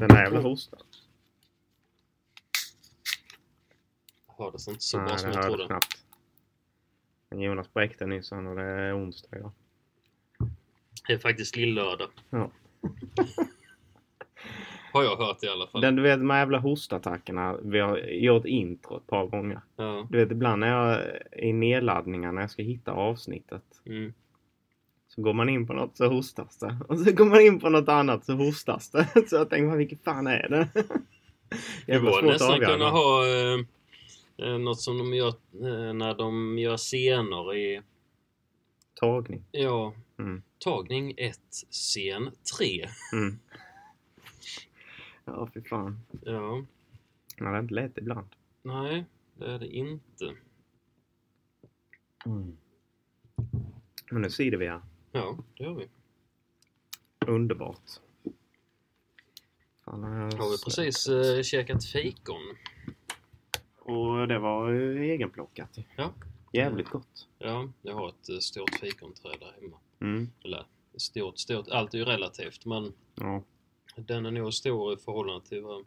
Den här jävla hosten. Hördes inte så bra Nej, Typ som det jag hördes trodde. knappt. Men Jonas bräckte nyss han och det är onsdag idag. Det är faktiskt lillördag. Ja. Har jag hört i alla fall. Den, du vet de här jävla hostattackerna. Vi har gjort intro ett par gånger. Ja. Du vet ibland när jag i nedladdningen när jag ska hitta avsnittet. Mm. Så går man in på något så hostas det. Och så går man in på något annat så hostas det. Så jag tänker, "Vad, vilket fan är det? Det Jävla var svårt att nästan avgöra. kunna ha eh, eh, något som de gör eh, när de gör scener i... Tagning. Ja. Mm. Tagning 1, scen 3. Mm. Ja, fy fan. Ja. Ja, det är inte lätt ibland. Nej, det är det inte. Men nu ser vi här. Ja, det gör vi. Underbart. Fan, jag- Har vi precis eh, käkat fikon. Och det var eh, egenplockat. ju. Ja. Mm. Jävligt gott. Ja, jag har ett eh, stort fikonträd där hemma. Mm. Eller stort, stort. Allt är ju relativt men Ja. den är nog stor i förhållande till vad...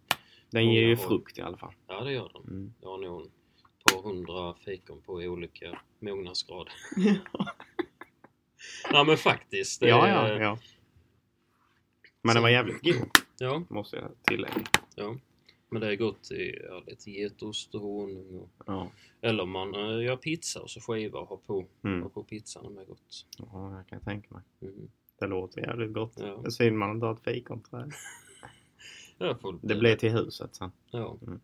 Den ger ju frukt i alla fall. Ja, det gör den. Mm. Jag har nog ett par hundra fikon på olika mognadsgrad. ja men faktiskt. det Ja, ja, är- ja. Men den var jävligt god, ja. måste jag tillägga. Ja. Men det är gott i ja, lite getost och honung. Och, Ja. eller om man eh, gör pizza och så skiva och har på. Mm. Och på pizzan, de är gott. ja, jag kan tänka mig. Mm. Det låter jävligt gott. Ja. Det är synd man inte har ett fikonträd. Jag får, Det blir till huset sen. Ja. Mm.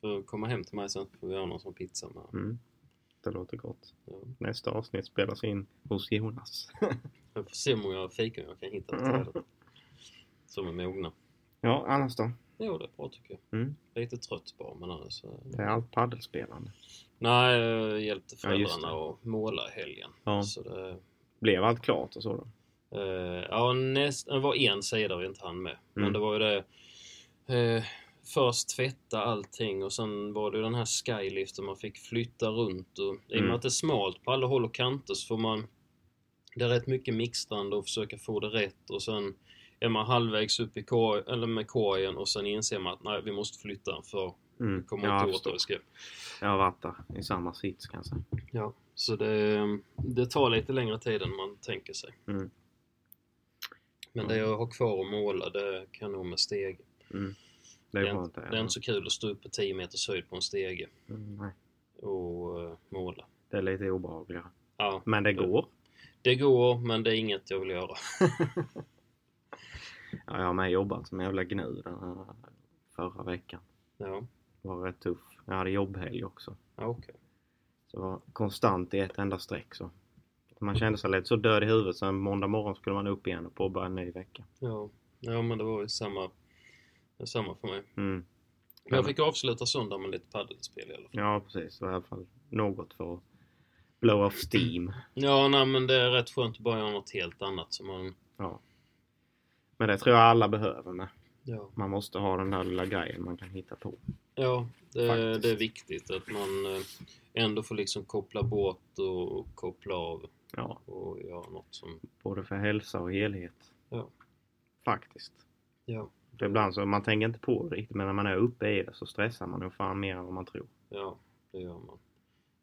För att komma hem till mig sen får vi göra någon sån pizza med. Mm. Det låter gott. Ja. Nästa avsnitt spelas in hos Jonas. Jag får se hur många fikon jag kan hitta på Ja. trädet. Som är mogna. ja, annars då? Jo, det är bra tycker jag. Mm. Lite trött bara, men annars... eh, Det är allt paddelspelande. Nej, jag hjälpte Ja, just föräldrarna att måla i helgen. Ja. Så det, Blev allt klart och så då? eh, ja, näst, det var en sida vi inte hann med. Men Mm. det var ju det... Eh, först tvätta allting och sen var det ju den här skyliften man fick flytta runt. Och, I och Mm. med att det är smalt på alla håll och kanter så får man... Det är rätt mycket mixtrande och försöka få det rätt och sen är man halvvägs upp i korg, eller med korgen och sen inser man att nej, vi måste flytta den för vi Mm. kommer Ja, jag inte åt det förstår. vi ska. Jag har varit där i samma sits kanske. Ja, så det, det tar lite längre tid än man tänker sig. Mm. Men det jag har kvar att måla, det kan jag nog med steg. Mm. Det Det är är, skönt inte, det är inte så kul att stå upp på 10 meters höjd på en stege Mm, nej. och eh, måla. Det är lite obehagligare. Ja, Men det går. det går, men det är inget jag vill göra. Ja, jag har med jobbat som jävla gnu den här förra veckan. Ja, Det var rätt tuff. Jag hade jobbhelg också. ja okej. Så det var konstant i ett enda streck så. Man kände sig lite så död i huvudet så en måndag morgon skulle man upp igen och påbörja en ny vecka. Ja. ja, men det var ju samma, samma för mig. Mm. Men jag fick avsluta söndagen med lite paddelspel i alla fall. Ja, precis. Det var i alla fall något för att blow off steam. Ja, nej, men det är rätt skönt att bara göra något helt annat. Så man, Ja. Men det tror jag alla behöver med. ja. Man måste ha den där lilla grejen man kan hitta på. Ja, det, Faktiskt. det är viktigt att man eh, ändå får liksom koppla bort och koppla av Ja, och göra något som... både för hälsa och helhet. Ja. Faktiskt. Ja, För ibland så, man tänker inte på det riktigt, men när man är uppe i det så stressar man nog fan mer än vad man tror. ja det gör man.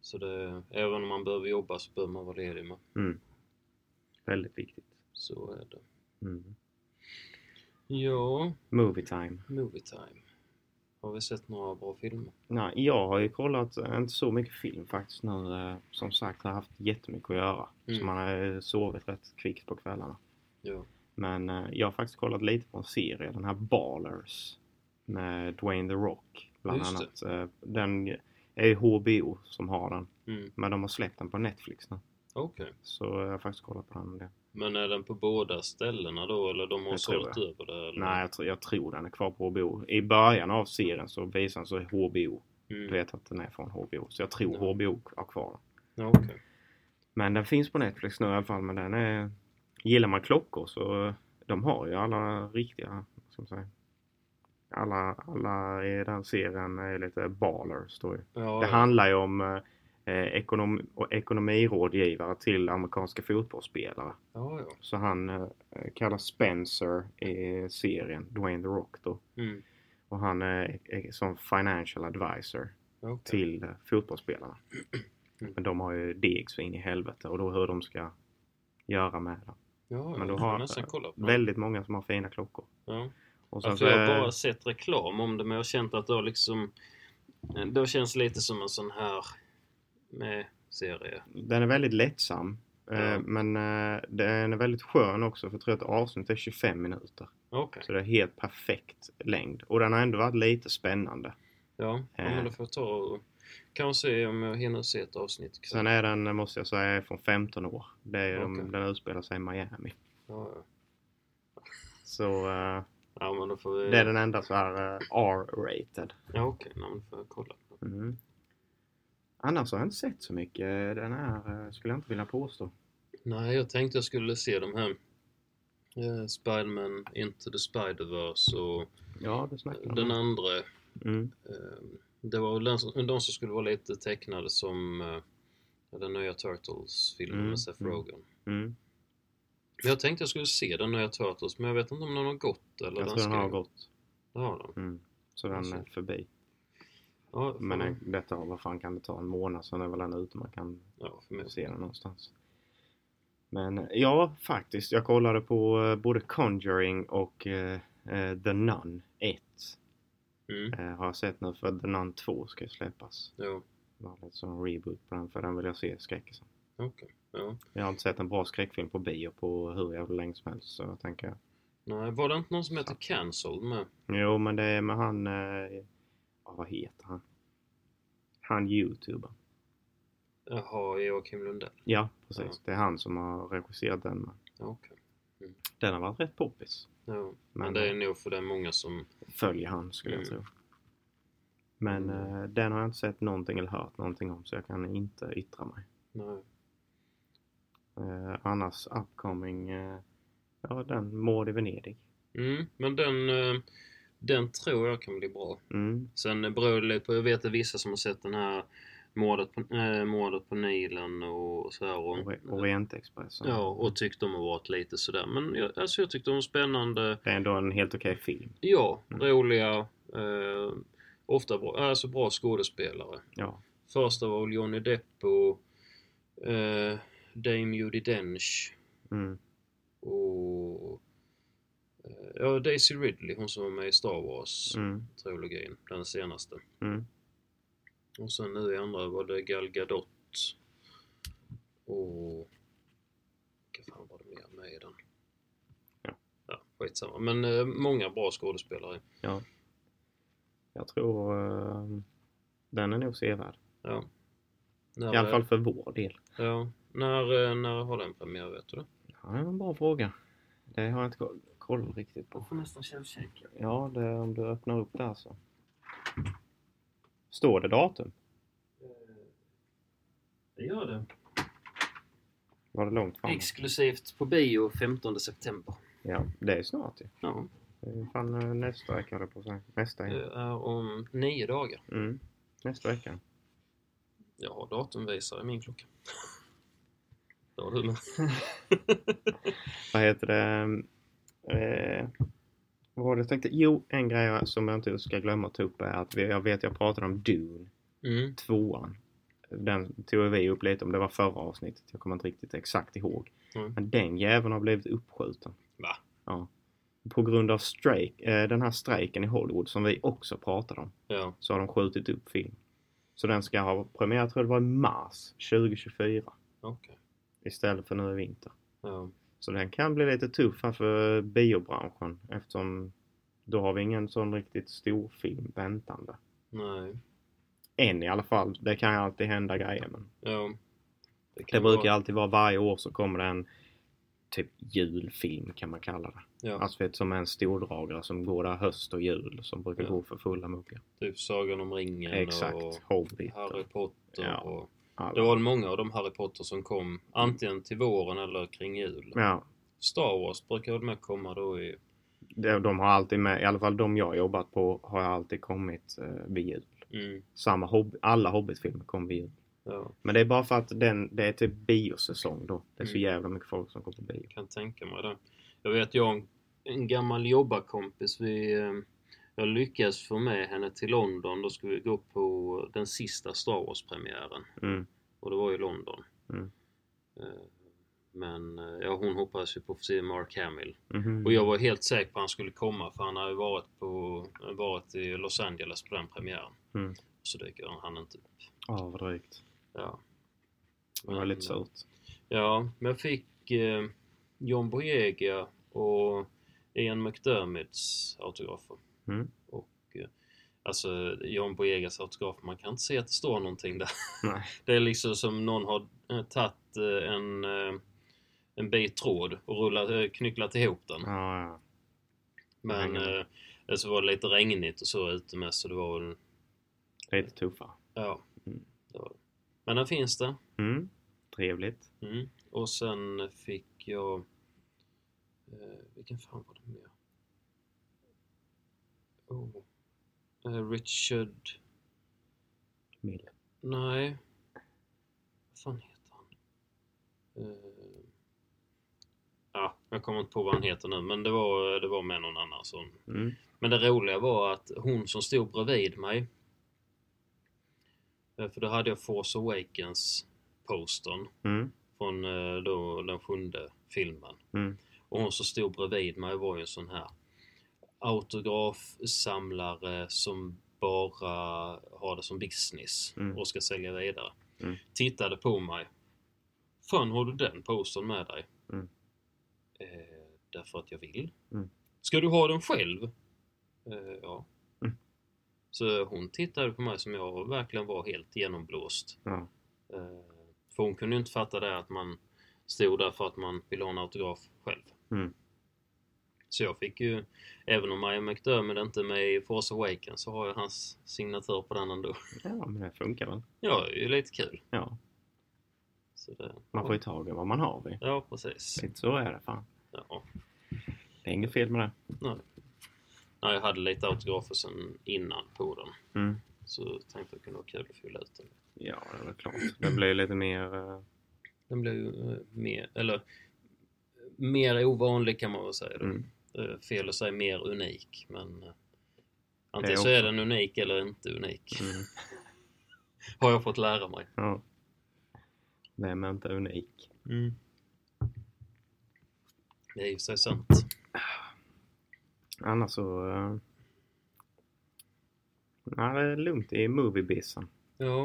Så det, även om man behöver jobba så behöver man vara ledig med. Mm. Väldigt viktigt. Så är det. Mm. Ja, Movie time. movie time. Har vi sett några bra filmer? Nej, jag har ju kollat, eh, inte så mycket film faktiskt nu. eh, Som sagt, jag har haft jättemycket att göra. Så Mm. man har ju sovit rätt kvickt på kvällarna. Ja. Men eh, jag har faktiskt kollat lite på en serie, den här Ballers. Med Dwayne The Rock, bland Just annat. Eh, Den är ju HBO som har den. Mm. Men de har släppt den på Netflix nu. Okej. Så jag har faktiskt kollat på den. Det. Men är den på båda ställena då eller de har Jag tror sålt det. över det? Eller? Nej, jag, tror- jag tror den är kvar på HBO. I början av serien så visar den så är HBO. Du Mm. vet att den är från HBO. Så jag tror Ja. HBO har kvar den. Ja, okej. Men den finns på Netflix nu i alla fall. Men den är... Gillar man klockor så eh, de har ju alla riktiga, vad ska man säga. Alla, alla i den serien är lite ballers då ju. Ja, Det ja. handlar ju om eh, eh, ekonom, och ekonomirådgivare till amerikanska fotbollsspelare. Ja, ja. Så han eh, kallas Spencer i serien, Dwayne The Rock då. Mm. Och han är, är som financial advisor Okej. till eh, fotbollsspelarna. Mm. Men de har ju deg så in i helvete och då hur de ska göra med det. Ja, ja. Men då jag har får han- nästan kolla på den. Väldigt många som har fina klockor. Ja. Och Mm. sen Ja, för jag har så- eh, bara sett reklam om det, men jag har känt att det har liksom... Det känns lite som en sån här med serie. Den är väldigt lättsam. eh, Ja. Men eh, den är väldigt skön också för jag tror att avsnittet är 25 minuter. Okej. Så det är helt perfekt längd. Och den har ändå varit lite spännande. Ja, ja, men då Eh. får jag ta och... Kanske se om jag hinner se ett avsnitt ikväll. Sen är den, måste jag säga, från 15 år. Det är Okej. de, den utspelar sig i Miami. Ja, ja. Så Mm. eh, ja, men då får vi... det är den enda så här eh, R-rated. Ja, okej. Ja, men då får jag kolla. på den. Mm. Annars har jag inte sett så mycket. Den här eh, skulle jag inte vilja påstå. Nej, jag tänkte jag skulle se de här... Eh, Spiderman Into the Spider-Verse och Ja, det snackar de den om. andra. Mm. Eh, det var väl den som, de som skulle vara lite tecknade som eh, den nya Turtles-filmen Mm, med Seth mm. Rogen. Mm. Jag tänkte jag skulle se den nya Turtles, men jag vet inte om den Alltså- har gått eller Jag tror den ska- har gått. Det har den. Mm. Så den är förbi. Ja, Men fan. eh, detta, vad fan kan det ta? En månad sen är väl den ute. Man kan ja, för mig. se den någonstans. Men eh, ja, faktiskt. Jag kollade på eh, både Conjuring och eh, eh, The Nun 1. Mm. Eh, har jag sett nu för The Nun 2 ska ju släppas. Ja, Det var lite som en reboot på den för den vill jag se skräckisen. okej. Ja. Jag har inte sett en bra skräckfilm på bio på hur jävla länge som helst så jag tänker Nej, var det inte någon som heter Cancelled med? Jo men det är med han, eh, ja, vad heter han? Han youtuber. Jaha, Joakim Lundell. Ja precis, Ja. det är han som har regisserat den. Ja, Okej. Den har varit rätt poppis. Ja. Men, Men det är nog för det är många som... följer han skulle jag Mm. tro. Men Mm. eh, den har jag inte sett någonting eller hört någonting om så jag kan inte yttra mig. Nej. Eh, annars upcoming, eh, ja den Mord i Venedig. Mm, men den, eh, den tror jag kan bli bra. Mm. Sen beror det lite på, jag vet att det är vissa som har sett den här mordet på, äh, mordet på Nilen och så här. Och, Ori- Orientexpressen. Mm. Ja, och tyckte de har varit lite sådär. Men jag, alltså jag tyckte de var spännande. Det är ändå en helt okej film. Ja, Mm. roliga. Eh, ofta bra, alltså bra skådespelare. Ja. Första var väl Johnny Depp och eh, Dame Judi Dench Mm. och eh, ja, Daisy Ridley, hon som var med i Star Mm. Wars-trilogin, den senaste. Mm. Och sen nu i andra var det Gal Gadot och... Vilka fan var det mer med i den? Ja. Ja, skitsamma. Men eh, många bra skådespelare. Jag tror eh, den är nog sevärd. Ja. När, I alla fall för vår del. Ja. När, eh, när har den premiär, vet du det? Ja, det var en bra fråga. Det har jag inte koll, koll riktigt på. får nästan källkika. Ja, det, om du öppnar upp där så. Står det datum? Det gör det. Var det långt fram? Exklusivt på bio 15 september. Ja, det är snart ju. Ja. Det är fan eh, nästa vecka höll jag på att säga. Nästa Det vecka. är om nio dagar. Mm. Nästa vecka. Jag har datumvisare i min klocka. Det har du med. Vad heter det? Eh, vad var det jag tänkte? Jo, en grej som jag inte ska glömma att ta upp är att vi, jag vet jag pratade om Dune, Mm. tvåan. Den tog vi upp lite om, det var förra avsnittet. Jag kommer inte riktigt exakt ihåg. Mm. Men den jäveln har blivit uppskjuten. Va? Ja. På grund av strejk, eh, den här strejken i Hollywood som vi också pratade om. Ja. så har de skjutit upp film. Så den ska ha premiär, jag tror det var i mars 2024 Okej. istället för nu i vinter. Ja. Så den kan bli lite tuff här för biobranschen eftersom då har vi ingen sån riktigt stor film väntande. Nej. Än i alla fall, det kan ju alltid hända grejer men Ja. kan det brukar vara- alltid vara varje år så kommer det en typ julfilm kan man kalla det. Ja. Alltså vet, som är en stordragare som går där höst och jul som brukar Ja. gå för fulla muggar. Typ Sagan om ringen och Exakt, Hobbit Harry och Potter. Ja. Och... Det alla. var väl många av de Harry Potter som kom antingen till våren eller kring jul. Ja, Star Wars brukar väl med komma då i... De, de har alltid med, i alla fall de jag har jobbat på, har alltid kommit eh, vid jul. Mm. Samma hobb, alla Hobbit-filmer kom vid jul. Ja, Men det är bara för att den, det är typ biosäsong då. Det är så Mm. jävla mycket folk som går på bio. kan tänka mig det. Jag vet, jag har en, en gammal jobbarkompis. Vi, eh, jag lyckades få med henne till London. Då skulle vi gå på den sista Star Wars-premiären. Mm. Och det var ju London. Mm. Eh, Men eh, ja, hon hoppades ju på att se Mark Hamill. Mhm. Och jag var helt säker på att han skulle komma för han hade ju varit, på, varit i Los Angeles på den premiären. Mm. Så dyker han inte upp. Ja, vad drygt. Ja. Det var Men- lite surt. Ja, men jag fick eh, John Boyega och Ian McDermotts autografer. Mm. Och, eh, alltså, John Boyegas autograf, man kan inte se att det står någonting där. Nej. Det är liksom som någon har eh, tagit eh, en, eh, en bit tråd och rullat, eh, knycklat ihop den. Ja, ja. Men Mm. eh, så var det lite regnigt och så ute med så det var väl, Lite tuffare. ja. Mm. Det var det. Men den finns där. Mm. Trevligt. Mm. Och sen fick jag... Eh, vilken fan var det mer? Oh. Eh, Richard... Mill. Nej. Vad fan heter han? Eh, ja, jag kommer inte på vad han heter nu, men det var, det var med någon annan som... Mm. Men det roliga var att hon som stod bredvid mig... eh, För då hade jag Force Awakens-postern Mm. från eh, då, den sjunde filmen. Mm. Och hon som stod bredvid mig var ju en sån här autografsamlare som bara har det som business Mm. och ska sälja vidare. Mm. Tittade på mig. Fan, har du den postern med dig? Mm. Eh, därför att jag vill. Mm. Ska du ha den själv? Eh, ja. Mm. Så hon tittade på mig som jag verkligen var helt genomblåst. Ja. Eh, För hon kunde ju inte fatta det att man stod där för att man ville ha en autograf själv. Mm. Så jag fick ju, även om Ian McDermott inte är med i Force Awakens så har jag hans signatur på den ändå. ja, men det funkar väl. Ja, det är ju lite kul. Ja. Så det, Man får ju tag i vad man har vid. Ja, precis. Lite så är det fan. Ja. Det är inget fel med det. Nej, jag hade lite autografer sen innan på den. Mm. Så tänkte jag kunde vara kul att fylla ut den. Ja, det är väl klart. Det blir lite mer... eh, Den blev ju eh, mer, eller mer ovanlig kan man väl säga. då. Mm. eh, fel att säga mer unik, men eh, Det antingen är så också- är den unik eller inte unik. Mm. Har jag fått lära mig. Ja. Vem är inte unik? Det är ju så sant. Annars så... eh, Nej, det är lugnt i moviebissen. Ja.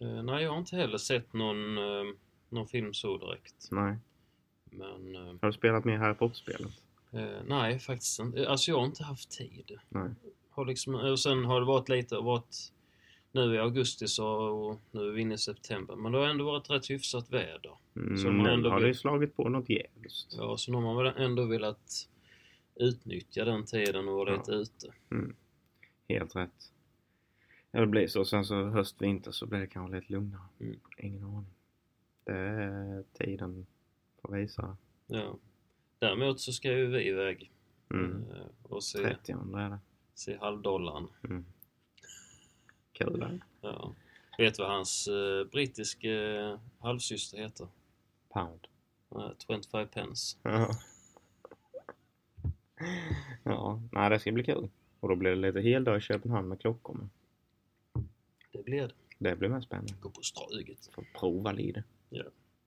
Eh, nej, jag har inte heller sett någon, eh, någon film så direkt. Nej. Men eh, Har du spelat mer Harry Potter-spelet? eh, nej, faktiskt inte. Alltså jag har inte haft tid. Nej. Har liksom, och sen har det varit lite, har varit nu i augusti så, och nu är vi inne i september. Men det har ändå varit rätt hyfsat väder. Mm, Som man nu ändå har vill. du ju slagit på något djävulskt. Ja, så nu har man väl ändå velat utnyttja den tiden och vara Ja. lite ute. Helt rätt. Ja, det blir så. Sen så höst, vinter så blir det kanske lite lugnare. Mm. Ingen aning. Det är tiden får visa. Ja. Däremot så ska ju vi iväg Mm. eh, och se, 30 är det. se halvdollaren. Mm. Kul. eh? Ja. Vet du vad hans eh, brittiska eh, halvsyster heter? Pound. Eh, 25 pence. Ja. ja, nej det ska bli kul. Och då blir det lite heldag i Köpenhamn med klockor. men Det blir det. Det blir mer spännande. Gå på Stryget. Får prova lite. Ja.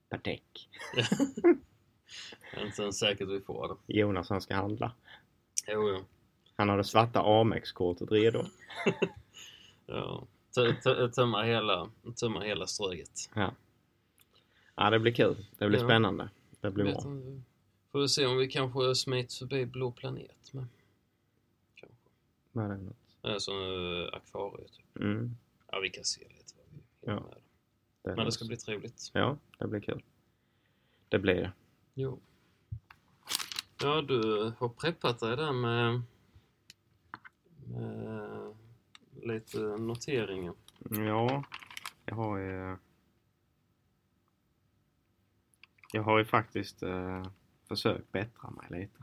På däck. Jag är inte ens säkert vi får det. Jonas han ska handla. Jo, jo. Han har det svarta Amex-kortet redo. Ja. T- t- Tömma hela, tömma hela Stryget. Ja, det blir kul. Det blir Ja. spännande. Det blir Vet bra. inte. Får vi se om vi kanske smiter förbi Blå planet med. Kanske. Vad är det något? Eh, Som eh, akvarie typ. Mm. Ja, vi kan se lite vad vi hinner Ja, med. Det Men det låter- ska bli trevligt. Ja, det blir kul. Det blir det. Jo. Ja, du har preppat dig där med, med lite noteringar. Ja, jag har ju... Jag har ju faktiskt eh, försökt bättra mig lite.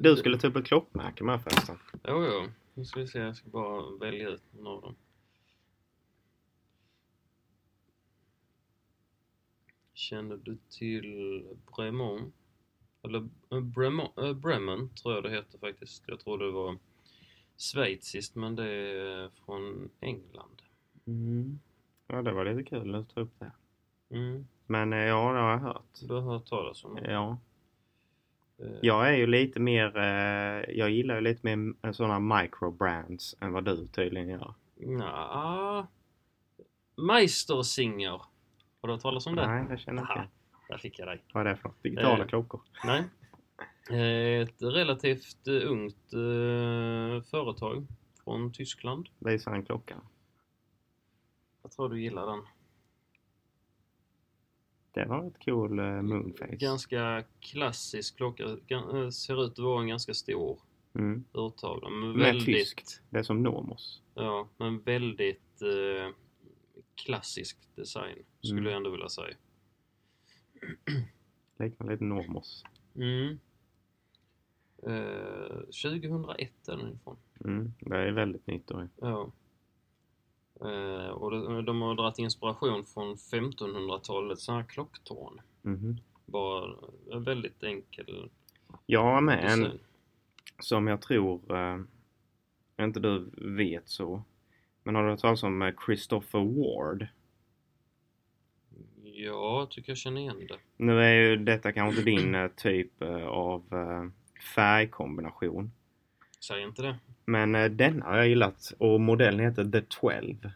Du skulle ta upp ett klockmärke med förresten. Jo, jo. Nu ska vi se. Jag ska bara välja ut någon av dem. Känner du till Bremont? Eller eh, Bremont, eh, Bremen tror jag det heter faktiskt. Jag tror det var schweiziskt men det är från England. Mm. Ja, det var lite kul att ta upp det. Mm, Men eh, ja, det har jag hört. du har hört talas om det? Ja. Eh, Jag är ju lite mer, eh, jag gillar ju lite mer sådana microbrands än vad du tydligen gör. Nja... Meistersinger. Har du hört talas om det? Nej, jag känner Mm. Aha, inte. där fick jag dig. Vad är det för något? Digitala Eh. klockor? Nej. Eh, Ett relativt eh, ungt eh, företag från Tyskland. Visa en klocka. Jag tror du gillar den. Det var ett cool eh, moonface. Ganska klassisk klocka. Gan- eh, Ser ut att vara en ganska stor Mm. urtavla. Men Med väldigt, tyskt. Det är som Normos. Ja, men väldigt eh, klassisk design skulle Mm. jag ändå vilja säga. Liknar lite Normos. Mm. Eh, 2001 är den ifrån. Mm. Det är väldigt nytt då. Ja. Eh, och de, de har dragit inspiration från 1500-talet, sådana här klocktorn. Mhm. Bara en väldigt enkel Jag har med en design. som jag tror, eh, inte du vet så. Men har du hört talas om eh, Christopher Ward? Ja, jag tycker jag känner igen det. Nu är ju detta kanske inte din eh, typ eh, av eh, färgkombination. Säg inte det. Men eh, denna har jag gillat och modellen heter The 12. Eh,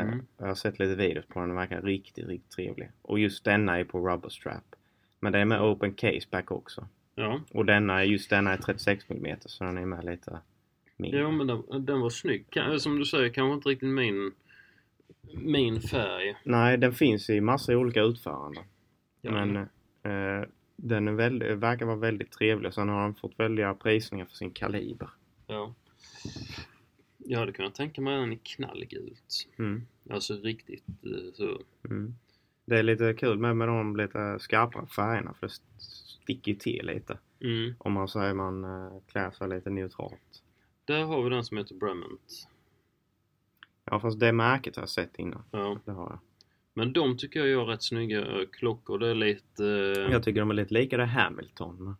Mm. Jag har sett lite videos på den, den verkar riktigt, riktigt trevlig. Och just denna är på rubber strap. Men det är med open case back också. Ja, Och denna, är- just denna är 36 mm så den är med lite mindre. ja men den, den var snygg. Kan, eh, som du säger, kanske inte riktigt min, min färg. Nej, den finns i massa olika utföranden. Ja, Men eh, den är väldigt, verkar vara väldigt trevlig. Sen har den fått välja prisningar för sin kaliber. Ja. Jag hade kunnat tänka mig en i knallgult. Mm. Alltså riktigt eh, så. Mm. Det är lite kul med, med de lite skarpa färgerna för det st- sticker ju till lite. Mm. Om man säger man eh, klär sig lite neutralt. Där har vi den som heter Bremont. Ja fast det märket har jag sett innan. Ja. Det har jag. Men de tycker jag gör rätt snygga eh, klockor. Det är lite... eh, Jag tycker de är lite lika det Hamilton. men-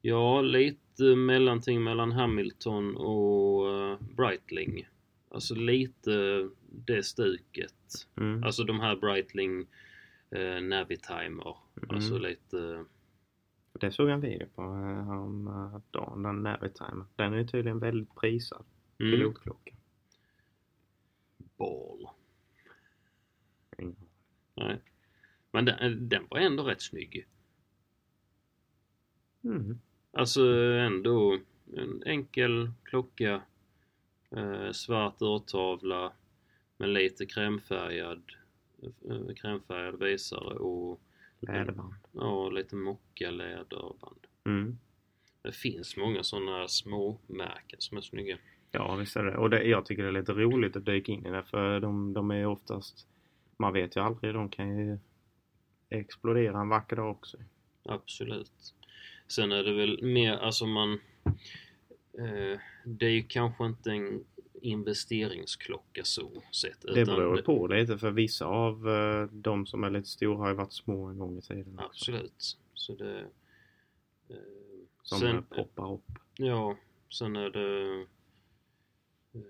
Ja, lite mellanting mellan Hamilton och eh, Breitling. Alltså lite det stuket. Mm. Alltså de här Breitling eh, Navitimer. Mm. Alltså lite... Det såg jag en video på eh, häromdagen, den Navitime. Den är ju tydligen väldigt prisad. Mm. Pilotklocka. Ball. Mm. Nej. Men den, eh, den var ändå rätt snygg. Mm. Alltså ändå en enkel klocka. Eh, svart urtavla med lite krämfärgad, eh, krämfärgad visare och Läderband. ja, lite mockaläderband. Mm. Det finns många sådana små märken som är snygga. Ja visst är det. Och det, jag tycker det är lite roligt att dyka in i det för de, de är oftast, man vet ju aldrig, de kan ju explodera en vacker dag också. Absolut. Sen är det väl mer, alltså man... Eh, det är ju kanske inte en investeringsklocka så sett. Det utan beror på lite för vissa av eh, de som är lite stora har ju varit små en gång i tiden. också. Absolut. Så det... Eh, Som eh, sen, poppar upp. Ja, sen är det eh,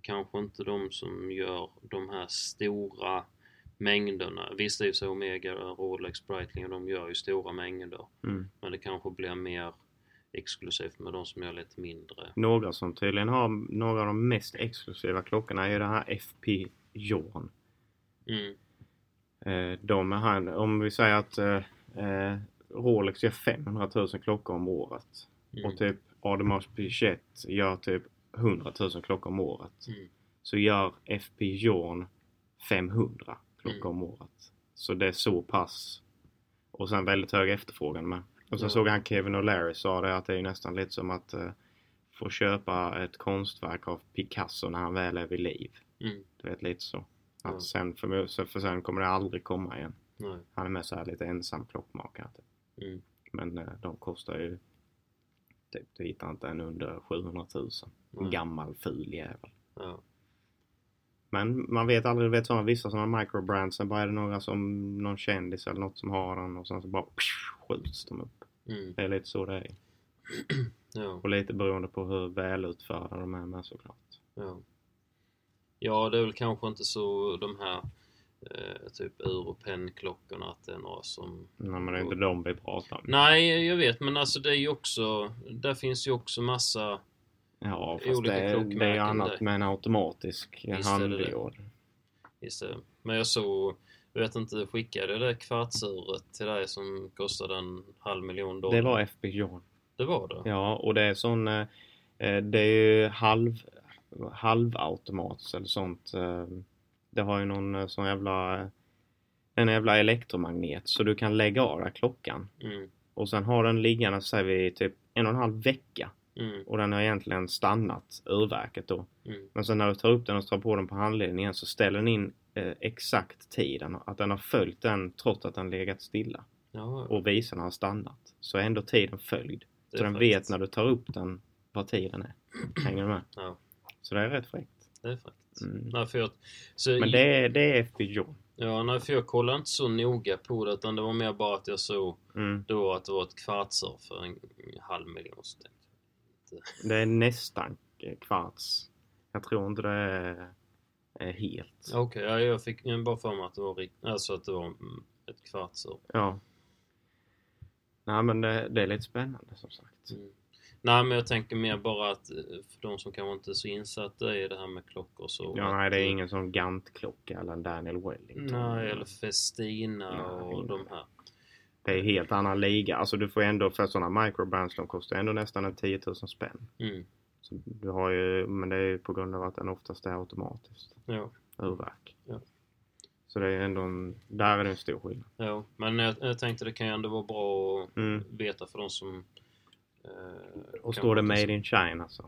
kanske inte de som gör de här stora mängderna. Visst är ju så Omega, Rolex, Breitling och de gör ju stora mängder. Mm. Men det kanske blir mer exklusivt med de som gör lite mindre. Några som tydligen har några av de mest exklusiva klockorna är ju den här FP Jorn. Mm. Eh, de är han, om vi säger att eh, eh, Rolex gör 500 000 klockor om året Mm. och typ Audemars Piguet gör typ 100 000 klockor om året. Mm. Så gör FP Jorn 500 klockor om Mm. året. Så det är så pass. Och sen väldigt hög efterfrågan med. Och sen Ja. såg han Kevin O'Leary sa det att det är nästan lite som att eh, få köpa ett konstverk av Picasso när han väl är vid liv. Mm. Du vet lite så. Att Ja. sen för, så- för sen kommer det aldrig komma igen. Nej. Han är med så här lite ensam klockmakare. Typ. Mm. Men eh, de kostar ju typ, du Mm. hittar inte en under 700 000. Nej. Gammal ful jävel. Ja. Men man vet aldrig, du vet sådana, vissa sådana microbrands, sen bara är det några som någon kändis eller något som har den och sen så bara psh, skjuts de upp. Mm. Det är lite så det är. Ja, Och lite beroende på hur välutförda de är med såklart. ja. ja, det är väl kanske inte så de här eh, typ ur och pennklockorna att det är några som... Nej men det är inte de vi pratar om. Nej, jag vet, men alltså det är ju också... Där finns ju också massa... Ja fast Olika det, är- det är ju klockmärken annat där. med en automatisk Visst är det det. handdiod. Just det. eh, Men jag såg, jag vet inte, jag skickade det där kvartsuret till dig som kostade en halv miljon dollar. Det var FBJ. det. Var det? Ja, och det är sån... eh, eh, Det är ju halv, halvautomats eller sånt. eh, Det har ju någon eh, sån jävla... eh, En jävla elektromagnet så du kan lägga av den här klockan. Mm, Och sen har den liggande säger vi typ en och en halv vecka. mm, Och den har egentligen stannat ur verket då. mm, Men sen när du tar upp den och tar på den på handleden igen så ställer den in eh, exakt tiden. Att den har följt den trots att den legat stilla. ja, Och visarna har stannat. Så är ändå tiden följd. det är Så den faktiskt- vet när du tar upp den vad tiden är. Hänger du med? Ja. Så det är rätt fräckt. Det är faktiskt. Mm. Nej, för jag, så Men det är, det är FBJ. Ja, nej, för jag kollade inte så noga på det utan det var mer bara att jag såg Mm. då att det var ett kvartsur för en halv miljon. Så tänkte jag, Det är nästan kvarts. Jag tror inte det är, är helt. Ja. Ja, Okej, ja, jag fick jag bara för mig att det var, rikt- alltså att det var mm, ett kvartsur. Nej men det, det är lite spännande som sagt. Mm. Nej, men jag tänker mer bara att eh, för de som kanske inte är så insatta i det här med klockor så... Ja, att, nej, det är eh, ingen sån Gant-klocka eller en Daniel Wellington. Nej, eller Festina Nej. och de här. Det är helt annan liga. Alltså du får ändå, för sådana microbrands de kostar ändå nästan en 10 000 spänn. Mm, Så du har ju, men det är ju på grund av att den oftast är automatiskt. ja, urverk. Ja. Så det är ändå en, där är det en stor skillnad. ja, men jag, jag tänkte det kan ju ändå vara bra att Mm. veta för de som... eh, Och kanske står det inte så- Made in China så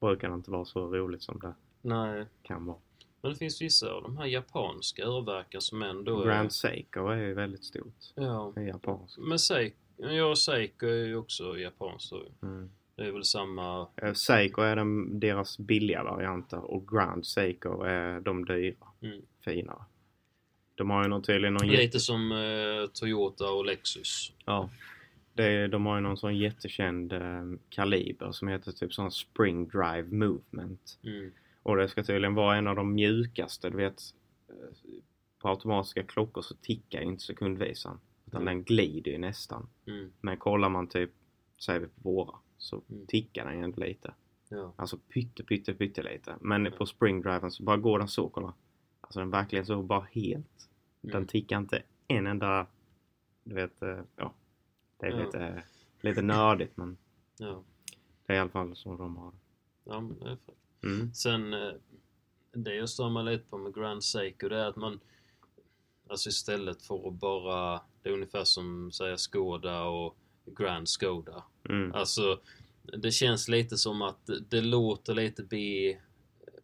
brukar det inte vara så roligt som det Nej, kan vara. men det finns vissa av de här japanska urverken som ändå... är- Grand Seiko är ju väldigt stort. Ja, Det är japanskt. men Seiko, ja, Seiko är ju också japanskt då ju. Mm. Det är väl samma... Eh, Seiko är den, deras billiga varianter och Grand Seiko är de dyra. Mm. Finare. De har ju någon, tydligen någon jätte... Lite som eh, Toyota och Lexus. Ja. Det är, de har ju någon sån jättekänd eh, kaliber som heter typ sån Spring Drive Movement. Mm. Och det ska tydligen vara en av de mjukaste, du vet. eh, På automatiska klockor så tickar ju inte sekundvisan. Utan Mm. den glider ju nästan. Mm. Men kollar man typ, säger vi på våra, så Mm. tickar den ju inte lite. Ja. Alltså pytte, pytte, pytte lite. Men Mm. på springdriven så bara går den så, kolla. Alltså den verkligen så bara helt. Den Mm. tickar inte en enda, du vet, eh, ja. Det är Ja. lite, lite nördigt men Ja. det är i alla fall så de har det. ja men det är fräckt. Mm. Sen, eh, det jag stör mig lite på med Grand Seiko, det är att man... Alltså istället för att bara... Det är ungefär som säga Skoda och Grand Skoda. Mm. Alltså, det känns lite som att det låter lite B,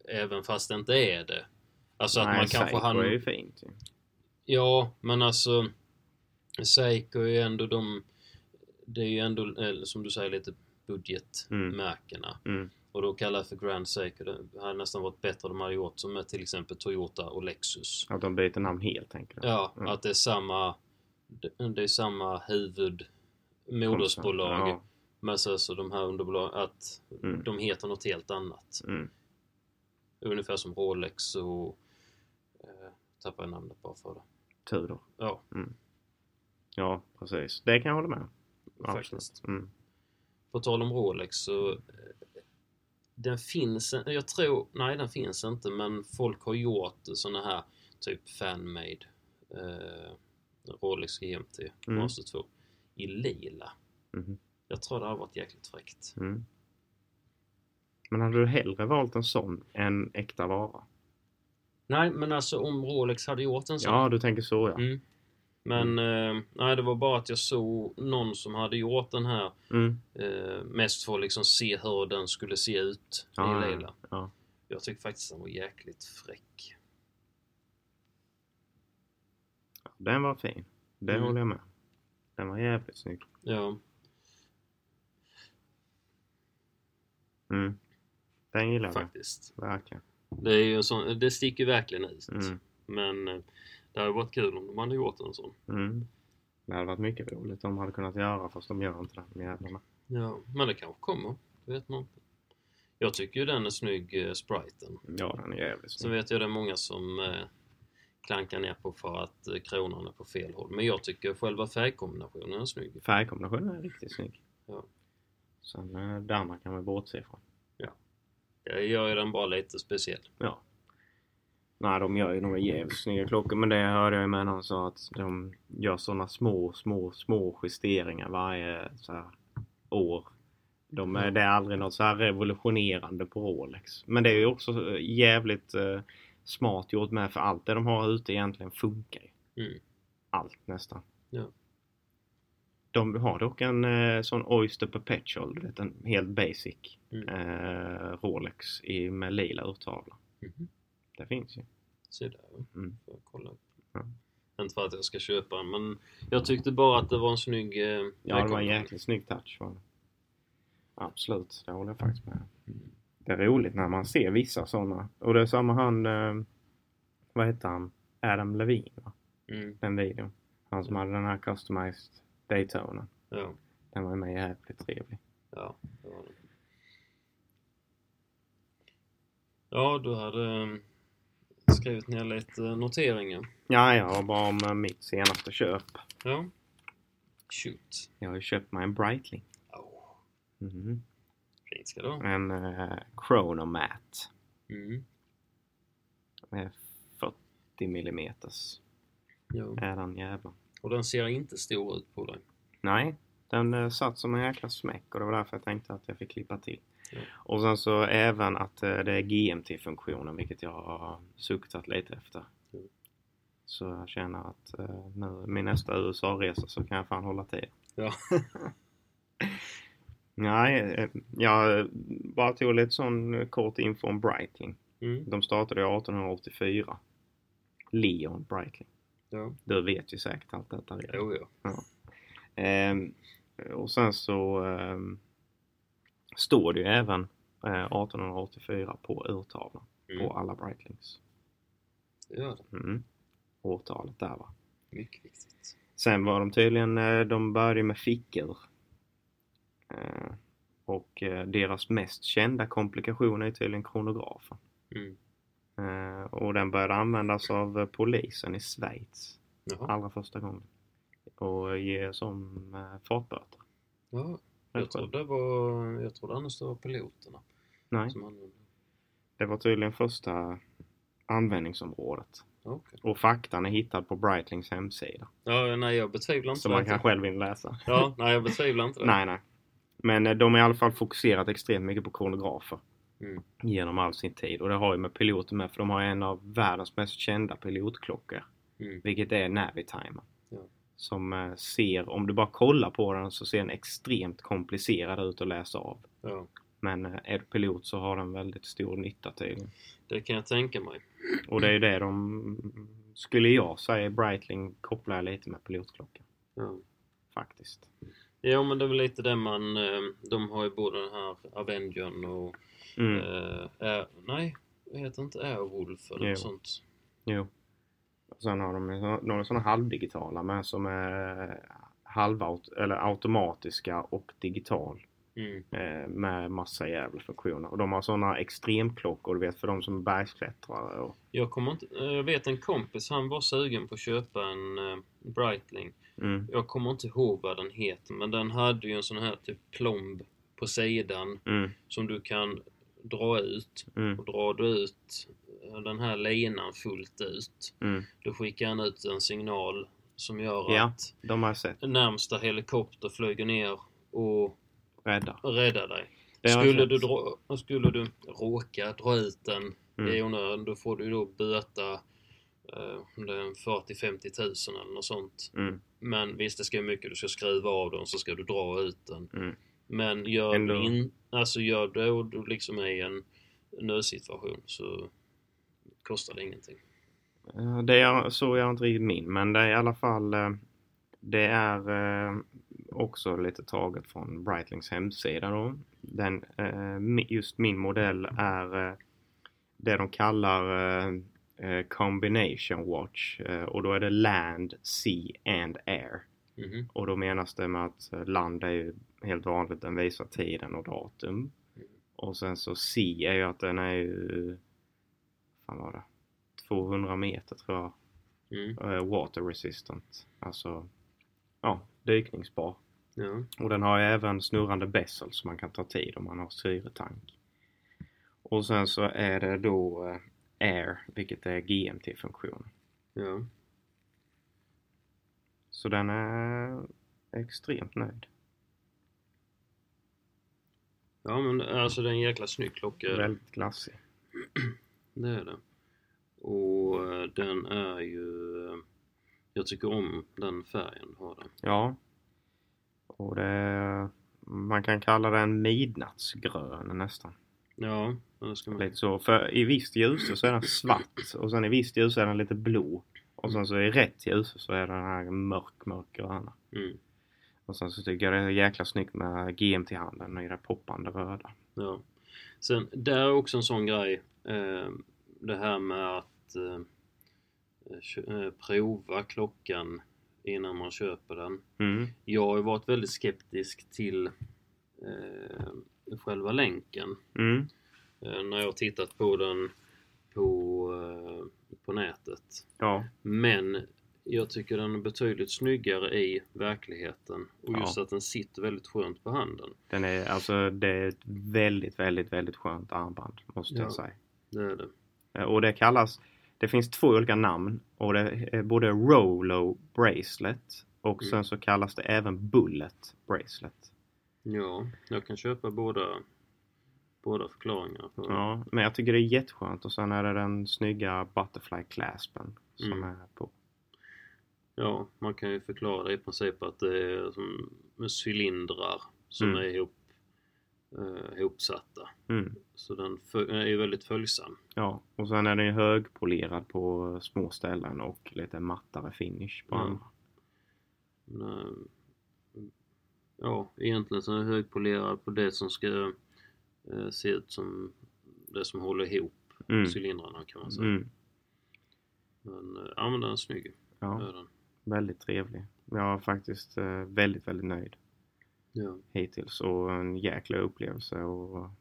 även fast det inte är det. Alltså att Nej, man kanske Seiko är ju hann... fint ju. Ja, men alltså... Seiko är ju ändå de... Det är ju ändå, eh, som du säger, lite budgetmärkena. Mm. Och då kallar jag för Grand Seiko. Det hade nästan varit bättre om de hade gjort som med till exempel Toyota och Lexus. Att de byter namn helt tänker jag. Ja, Mm. att det är samma... det- Det är samma huvud... Modersbolag. Ja. Men så, så de här underbolagen, att Mm. de heter något helt annat. Mm. Ungefär som Rolex och... Eh, tappar jag namnet bara för det. Tudor. Ja, Ja, precis. Det kan jag hålla med om. faktiskt. Absolut. Mm. På tal om Rolex så... eh, Den finns, en- jag tror, nej den finns inte men folk har gjort såna här typ fanmade eh, Rolex GMT Mm. Master 2 i lila. Mhm. Jag tror det har varit jäkligt fräckt. Mm. Men hade du hellre valt en sån än äkta vara? Nej men alltså om Rolex hade gjort en sån Ja, du tänker så ja. Mm. Men Mm. eh, nej, det var bara att jag såg någon som hade gjort den här Mm. eh, mest för att liksom se hur den skulle se ut Ja, i lila. ja. Jag tyckte faktiskt den var jäkligt fräck. Den var fin. Det Mm. håller jag med. Den var jävligt snygg. Ja, Mm. Den gillade jag. faktiskt. Verkligen. Det, är ju en sån, det sticker ju verkligen ut. Mm. Men eh, det hade varit kul om de hade gjort en sån. Mm. Det hade varit mycket roligt om de hade kunnat göra fast de gör inte det, de jävlarna. Ja, men det kanske kommer. Det vet man inte. Jag tycker ju den är snygg, eh, spriten. Ja, den är jävligt Så snygg. vet jag det är många som eh, klankar ner på för att eh, kronan är på fel håll. Men jag tycker själva färgkombinationen är snygg. Färgkombinationen är riktigt snygg. Ja. Sen eh, det andra kan vi bortse ifrån. Jag gör ju den bara lite speciell. Ja. Nej, de gör ju några jävligt snygga klockor. Men det hörde jag ju med någon sa att de gör sådana små, små, små justeringar varje så här, år. De, är- Det är aldrig något så här revolutionerande på Rolex. Men det är ju också eh, jävligt eh, smart gjort med för allt det de har ute egentligen funkar ju. Mm. Allt nästan. Ja. De har dock en eh, sån Oyster Perpetual, du vet en helt basic Mm. eh, Rolex i, med lila urtavla. Mhm. Det finns ju. Så där. ja. Mm. Får jag kolla upp. Ja. Inte för att jag ska köpa den, men jag tyckte bara att det var en snygg... eh, Ja, det var en färgkombination. jäkligt snygg touch. Var det. Absolut, det håller jag faktiskt med om. Det är roligt när man ser vissa sådana. Och det är samma han, eh, vad heter han, Adam Levine, va? Mm, den videon. Han som hade den här customized Daytona. ja, Den var ju med jävligt trevlig. ja, det var det. Ja, du hade eh, skrivit ner lite noteringar. Ja, ja, bara om eh, mitt senaste köp. Ja. Shoot. Jag har ju köpt mig en Breitling. Åh, Mhm. fint ska det vara. En eh, Chronomat. Mm, Eh, 40 millimeters ja. är den jäveln. Och den ser inte stor ut på dig. Nej, den eh, satt som en jäkla smäck och det var därför jag tänkte att jag fick klippa till. Ja. Och sen så även att eh, det är GMT-funktionen, vilket jag har suktat lite efter. Ja. Så jag känner att eh, nu, min nästa USA-resa så kan jag fan hålla till. Ja. Nej, eh, jag eh, bara tog lite sån eh, kort info om Breitling. Mm, De startade 1884. Leon Breitling. ja. Du vet ju säkert allt detta redan. Jo, ja. Ehm, och sen så ehm, står det ju även eh, 1884 på urtavlan Mm, på alla Breitlings. det gör det. Mm. Årtalet där va. Mycket viktigt. Sen var de tydligen, eh, de började med fickor. Eh, och eh, deras mest kända komplikation är tydligen kronografen. Mm. Eh, och den började användas av eh, polisen i Schweiz Jaha. allra första gången. Och ge som eh, fartböter. Ja, jag trodde det var... Jag trodde annars det var piloterna Nej. som använde den. Det var tydligen första användningsområdet. Ja, okej. Och faktan är hittad på Breitlings hemsida. Ja, nej, jag betvivlar inte Som man det. kan själv in läsa. Ja, nej, jag betvivlar inte det. Nej, nej. Men eh, de har i alla fall fokuserat extremt mycket på kronografer. Mm. Genom all sin tid. Och det har ju med piloter med. För de har en av världens mest kända pilotklockor. Mm. Vilket är Navitimer. Ja. Som eh, ser, om du bara kollar på den så ser den extremt komplicerad ut att läsa av. Ja, Men eh, är du pilot så har den väldigt stor nytta tydligen. det kan jag tänka mig. Och det är ju Mm. det de, skulle jag säga, Breitling kopplar lite med pilotklockan. Ja. Faktiskt. ja, men det är väl lite det man... eh, De har ju både den här Avengern och... Mm. eh, Air, nej, det heter inte Airwolf eller Jo. något sånt. Jo. Och sen har de ju så- några sådana halvdigitala med som är halvaut eller automatiska och digital Mm. eh, med massa jävla funktioner. Och de har sådana extremklockor, du vet, för de som är bergsklättrare. Och, Jag kommer inte... eh, Jag vet en kompis, han var sugen på att köpa en eh, Breitling. mm. Jag kommer inte ihåg vad den heter, men den hade ju en sån här typ plomb på sidan Mm. som du kan dra ut. Mm. Och drar du ut eh, den här linan fullt ut, Mm. då skickar han ut en signal som gör Ja. att De har jag sett. närmsta helikopter flyger ner och Rädda. räddar dig. Det har jag Skulle sett. du, dra, skulle du råka dra ut den Mm. i onödan, då får du då böta eh, om det är en 40-50 tusen eller något sånt. Mm. Men visst, det ska ju mycket. Du ska skruva av den, så ska du dra ut den. Mm. Men gör Ändå. du in, alltså gör det och du liksom är i en nödsituation så kostar det ingenting. Eh, Det är, så är inte riktigt min, men det är i alla fall eh, Det är eh, också lite taget från Breitlings hemsida då. Den, eh, mi- just min modell är eh, det de kallar eh, eh, combination watch eh, och då är det land, sea and air. Mhm. Och då menas det med att eh, land är ju helt vanligt, den visar tiden och datum. Mm. Och sen så sea är ju att den är ju, fan var det, 200 meter tror jag, Mm. eh, water resistant. Alltså, ja, dykningsbar. Ja. Och den har ju även snurrande bessel som man kan ta tid om man har syretank. Och sen så är det då eh, air, vilket är GMT-funktion. Ja. Så den är extremt nöjd. Ja men alltså det är en jäkla snygg klocka. Väldigt glassig. Det är det. Och eh, den är ju... eh, Jag tycker om den färgen har den. Ja. Och det, man kan kalla den midnattsgrön nästan. Ja, men det ska man... Lite så, för i visst ljus så är den svart och sen i visst ljus är den lite blå. Och sen så i rätt ljus så är den här mörk, mörkgröna. Mm. Och sen så tycker jag det är jäkla snyggt med GMT-handen i det poppande röda. Ja. Sen, där är också en sån grej. Eh, det här med att eh, kö- eh, prova klockan innan man köper den. Mm. Jag har ju varit väldigt skeptisk till eh, själva länken. Mm. Eh, när jag har tittat på den på, eh, på nätet. Ja. Men jag tycker den är betydligt snyggare i verkligheten. Och just Ja. att den sitter väldigt skönt på handen. Den är alltså, det är ett väldigt, väldigt, väldigt skönt armband måste Ja. jag säga. Det är det. Eh, Och det kallas, det finns två olika namn och det är både Rolo Bracelet och Mm. sen så kallas det även Bullet Bracelet. Ja, jag kan köpa båda, båda förklaringar. På den. Ja, men jag tycker det är jätteskönt och sen är det den snygga Butterfly Claspen som Mm. är på. ja, man kan ju förklara det i princip att det är som med cylindrar som Mm. är ihop, eh, ihopsatta. Mm. Så den fö- är ju väldigt följsam. Ja, och sen är den ju högpolerad på små ställen och lite mattare finish på Ja. andra. Men, eh, ja, egentligen så är den högpolerad på det som ska eh, se ut som det som håller ihop Mm. cylindrarna kan man säga. Mm. Men eh, ja, men den är snygg. Det Ja, är den. väldigt trevlig. Jag är faktiskt eh, väldigt, väldigt nöjd Ja. hittills och en jäkla upplevelse att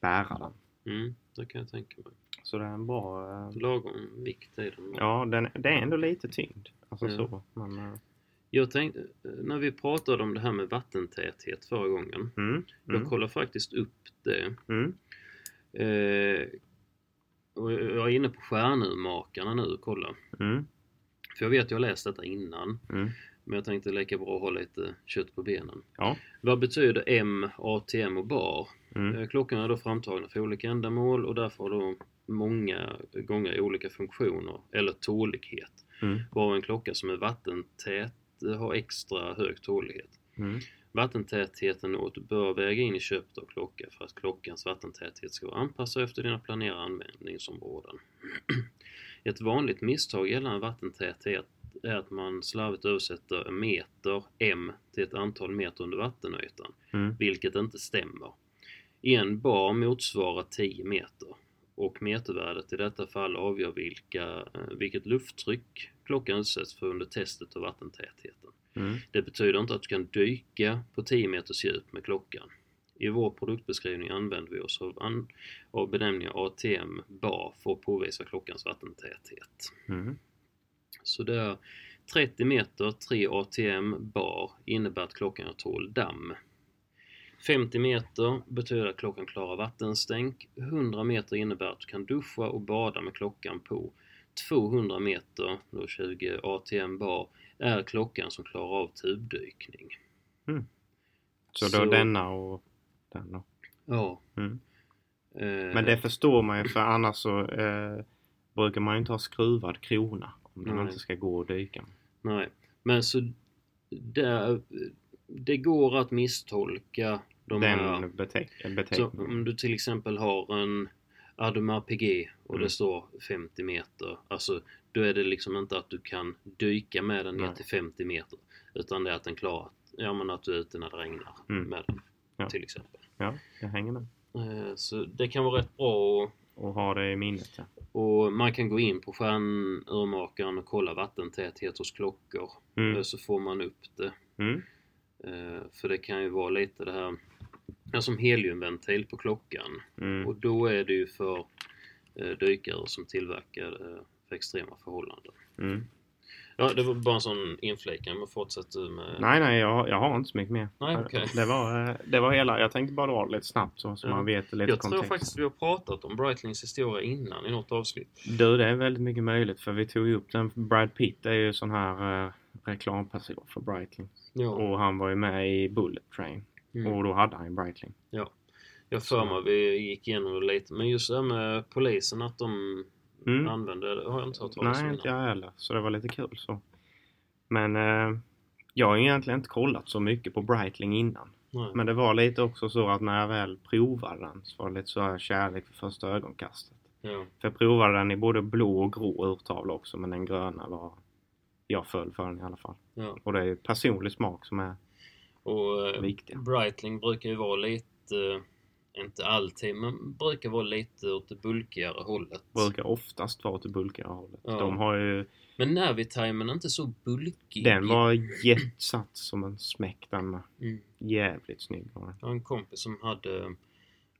bära den. Mm, det kan jag tänka mig. Så det är en bra... eh, Lagom vikt är den. Ja, den, det är ändå lite tyngd. Alltså Ja. så. Men, eh, Jag tänkte, när vi pratade om det här med vattentäthet förra gången. mm, Jag mm, kollade faktiskt upp det. mm, Eh, och jag är inne på stjärnurmakarna nu och kolla. mm, För jag vet, jag har läst detta innan. mm. Men jag tänkte lika bra ha lite kött på benen. Ja. Vad betyder M, ATM och bar? Mm, Eh, Klockorna är då framtagna för olika ändamål och därför har de många gånger olika funktioner eller tålighet. mm, Bara en klocka som är vattentät eh, har extra hög tålighet. mm, Vattentätheten åt bör väga in i köpet av klocka för att klockans vattentäthet ska vara anpassad efter dina planerade användningsområden. Ett vanligt misstag gällande vattentäthet är att man slarvigt översätter meter, m, till ett antal meter under vattenytan, mm, vilket inte stämmer. En bar motsvarar 10 meter och metervärdet i detta fall avgör vilka, eh, vilket lufttryck klockan utsätts för under testet av vattentätheten. mm. Det betyder inte att du kan dyka på 10 meters djup med klockan. I vår produktbeskrivning använder vi oss av, an- av benämningen ATM bar för att påvisa klockans vattentäthet. mm. Så det är 30 meter, 3 ATM bar innebär att klockan tål damm. 50 meter betyder att klockan klarar vattenstänk. 100 meter innebär att du kan duscha och bada med klockan på. 200 meter, då 20 ATM bar, är klockan som klarar av tubdykning. Så då Så- denna och den då. Ja. Mm. Eh, Men det förstår man ju för annars så eh, brukar man ju inte ha skruvad krona. Om den Nej. inte ska gå och dyka. Nej, men så det, det går att misstolka de här. den beteck- Så beteckningen. om du till exempel har en Ademar PG och Mm. det står 50 meter. Alltså, då är det liksom inte att du kan dyka med den ner Nej. till 50 meter. Utan det är att den klarar, ja men att du är ute när det regnar Mm. med den. Ja. Till exempel. Ja, jag hänger med. Eh, Så det kan vara rätt bra att- och ha det i minnet. ja. Och man kan gå in på stjärnurmakaren och kolla vattentäthet hos klockor. Mm. Så får man upp det. Mm. Eh, För det kan ju vara lite det här, ja, som heliumventil på klockan. Mm. Och då är det ju för eh, dykare som tillverkar eh, för extrema förhållanden. Mm. Ja, det var bara en sån inflikan, men fortsätt du med... Nej, nej, jag, jag har inte så mycket mer. Typ. Nej, okej. det, var, eh, det var hela. Jag tänkte bara dra det lite snabbt så, så Ja. man vet lite jag tror kontext. faktiskt vi har pratat om Breitlings historia innan i något avsnitt. Du, det är väldigt mycket möjligt för vi tog ju upp den. Brad Pitt är ju sån här eh, reklamperson för Breitling. Ja. Och han var ju med i Bullet Train. Mm. Och då hade han ju Breitling. Jag för mig vi gick igenom det lite, men just det här med polisen att de Mm. använder det har jag inte hört talas om Nej, innan. inte jag heller. Så det var lite kul så. Men eh, jag har ju egentligen inte kollat så mycket på Breitling innan. Nej. Men det var lite också så att när jag väl provade den så var det lite så här kärlek för första ögonkastet. Ja. För jag provade den i både blå och grå urtavla också men den gröna var... Jag föll för den i alla fall. Ja. Och det är ju personlig smak som är Och eh, viktig. Breitling brukar ju vara lite, eh, inte alltid, men brukar vara lite åt det bulkigare hållet. Brukar oftast vara åt det bulkigare hållet. Ja. De har ju... Men Navitimen är inte så bulkig. Den var jetsatt som en smäck den med. Mm. Jävligt snygg var den. Jag har en kompis som hade,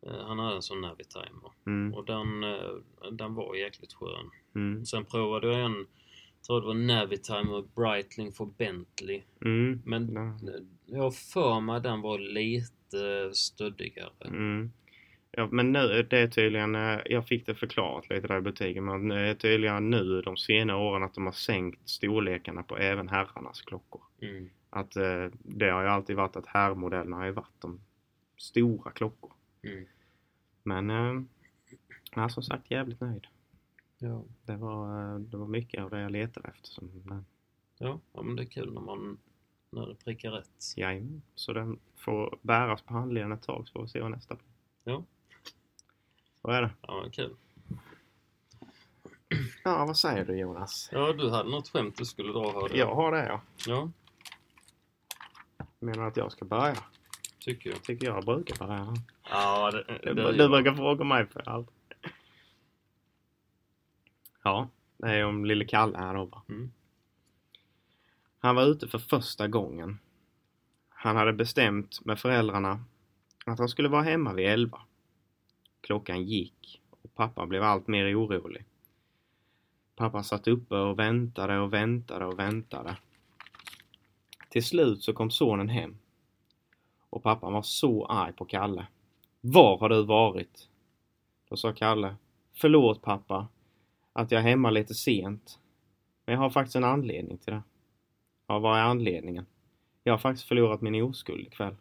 eh, han hade en sån Navitimer. Mm, Och den, eh, den var jäkligt skön. mm, Sen provade jag en, tror det var Navitimer Breitling för Bentley. mm. Men Den- jag har för mig den var lite stöddigare. Mm. Ja, men nu, det är tydligen, eh, jag fick det förklarat lite där i butiken, men det är tydligen nu de senare åren att de har sänkt storlekarna på även herrarnas klockor. Mm. Att eh, det har ju alltid varit att herrmodellerna har ju varit de stora klockor. Mm. Men, eh, ja, som sagt jävligt nöjd. Ja. Det var, eh, det var mycket av det jag letade efter. Som den. Ja, ja, men det är kul när man när det prickar rätt. Jajamän. Så den får bäras på handleden ett tag så får vi se vad nästa blir. Ja. Så är det. Ja, men kul. Ja, vad säger du Jonas? Ja, du hade något skämt du skulle dra hörde jag. Jag har det ja. Ja, Menar att jag ska börja? tycker jag. Tycker jag brukar börja. Ja, det, Du, det, du gör jag. brukar fråga mig för allt. Ja, det är om lille Kalle här då bara. Mm. Han var ute för första gången. Han hade bestämt med föräldrarna att han skulle vara hemma vid elva. Klockan gick och pappa blev allt mer orolig. Pappa satt uppe och väntade och väntade och väntade. Till slut så kom sonen hem. Och pappan var så arg på Kalle. Var har du varit? Då sa Kalle. Förlåt pappa att jag är hemma lite sent. Men jag har faktiskt en anledning till det. Ja, vad är anledningen? Jag har faktiskt förlorat min oskuld ikväll.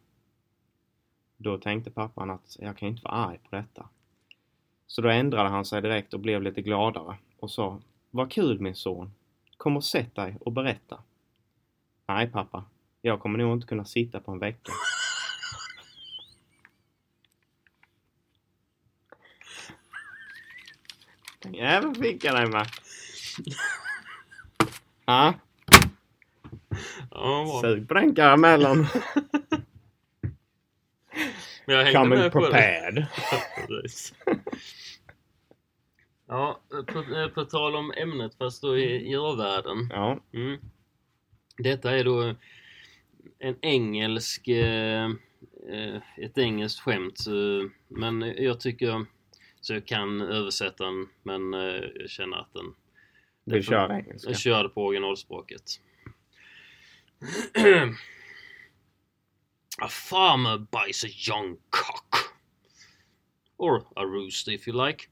Då tänkte pappan att jag kan ju inte vara arg på detta. Så då ändrade han sig direkt och blev lite gladare och sa Vad kul min son. Kom och sätt dig och berätta. Nej pappa, jag kommer nog inte kunna sitta på en vecka. Den jäveln fick jag dig med. Ja, Ja, bra. sug på den karamellen. Men jag hängde Coming med på det. prepared. Precis. Ja, på, eh, på tal om ämnet fast då i djurvärlden. Ja. Mm. Detta är då en engelsk, eh, eh, ett engelskt skämt. eh, Men jag tycker, så jag kan översätta den, men eh, jag känner att den... Vi kör engelska. Jag kör det på originalspråket. a farmer buys a young cock. Or a rooster if you like.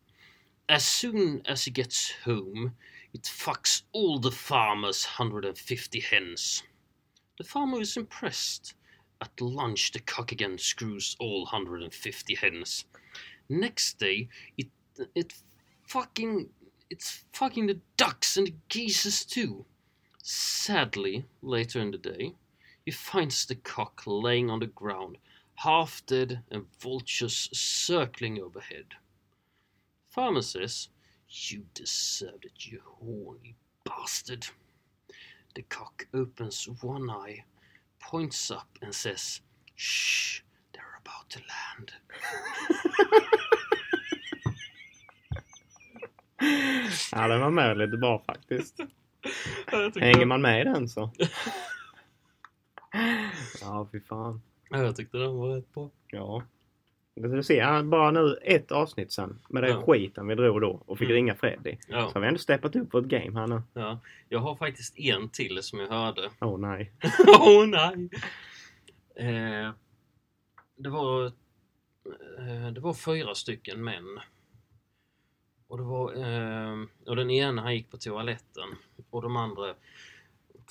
As soon as he gets home, it fucks all the farmer's 150 hens. The farmer is impressed. At lunch, the cock again screws all 150 hens. Next day, it it fucking it's fucking the ducks and the geese too. Sadly, later in the day, he finds the cock laying on the ground, half dead, and vultures circling overhead. Farmer says, You deserved it, you horny bastard. The cock opens one eye, points up, and says, Shh, they're about to land. Ja, den var med lite bra faktiskt. Ja, jag tyckte, Hänger man med i den så. Ja, fy fan. ja, jag tyckte den var rätt bra. Ja. Det ska vi se, ja, bara nu ett avsnitt sen med den Ja. skiten vi drog då och fick Mm. ringa Freddy. Så har Ja, vi ändå steppat upp vårt game här nu. ja. Jag har faktiskt en till som jag hörde. Åh oh, nej. Åh oh, nej! Eh, det, var, eh, det var fyra stycken män. Och, det var, eh, och den ena han gick på toaletten och de andra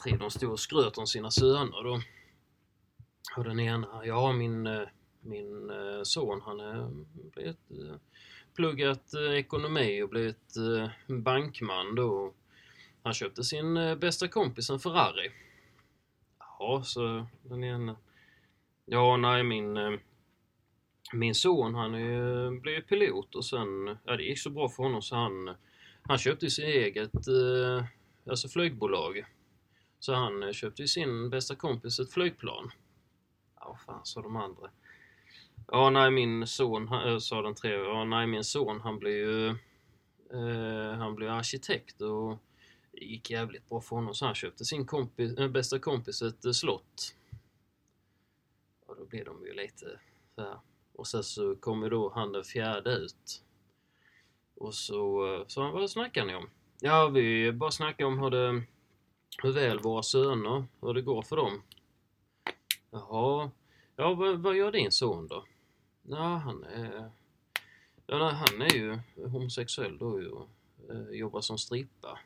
tre de stod och skröt om sina söner. Då. Och den ena, ja min, eh, min eh, son han eh, blev ett, eh, pluggat eh, ekonomi och blivit eh, bankman då. Han köpte sin eh, bästa kompis en Ferrari. Ja, så den ena. Ja, nej, min, eh, min son han är, ju- blev ju pilot och sen, ja det gick så bra för honom så han, han köpte ju sitt eget eh, alltså flygbolag. Så han eh, köpte ju sin bästa kompis ett flygplan. Ja, vad fan sa de andra? Ja, nej, min son, han, eh, sa den tredje, ja, nej, min son han blev ju eh, han blev arkitekt och det gick jävligt bra för honom så han köpte sin kompis, äh, bästa kompis ett eh, slott. Och då blev de ju lite så här. Och sen så kom ju då han den fjärde ut. Och så eh, sa han, vad snackar ni om? Ja, vi bara snackar om hur, det, hur väl våra söner, hur det går för dem. Jaha, ja vad, vad gör din son då? Ja, han är, ja, nej, han är ju homosexuell då ju och eh, jobbar som strippa.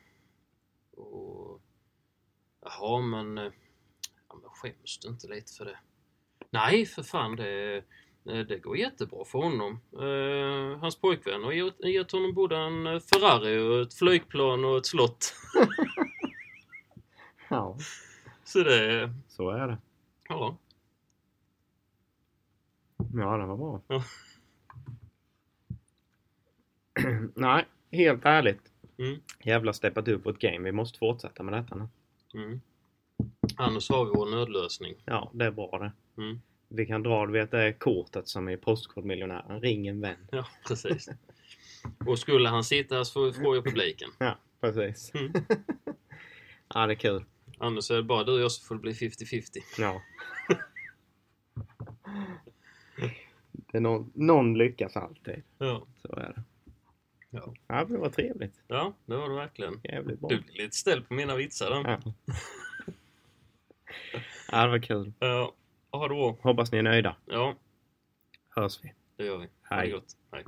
Och... Jaha, men... eh, Ja, men skäms du inte lite för det? Nej, för fan, det, eh, det går jättebra för honom. Eh, hans pojkvän har gett, gett honom både en eh, Ferrari och ett flygplan och ett slott. Ja, Så det... så är det. Ja. Ja, den var bra. Ja. Nej, helt ärligt. Mm. Jävla steppat upp vårt game. Vi måste fortsätta med detta nu. Mm. Annars har vi vår nödlösning. Ja, det är bra det. Mm. Vi kan dra, du vet, det är kortet som i Postkodmiljonären. Ring en vän. Ja, precis. Och skulle han sitta här så får vi fråga publiken. Ja, precis. Mm. ja, det är kul. Annars är det bara du och jag så får det bli 50-50. Ja. det är någon, någon lyckas alltid. Ja. Så är det. Ja. Ja, men det var trevligt. ja, det var det verkligen. Jävligt bra. Du blir lite ställd på mina vitsar där. Ja. ja, det var kul. Eh, Ja, ha det bra. Hoppas ni är nöjda. Ja, Hörs vi. det gör vi. Ha det Hej. gott. Hej.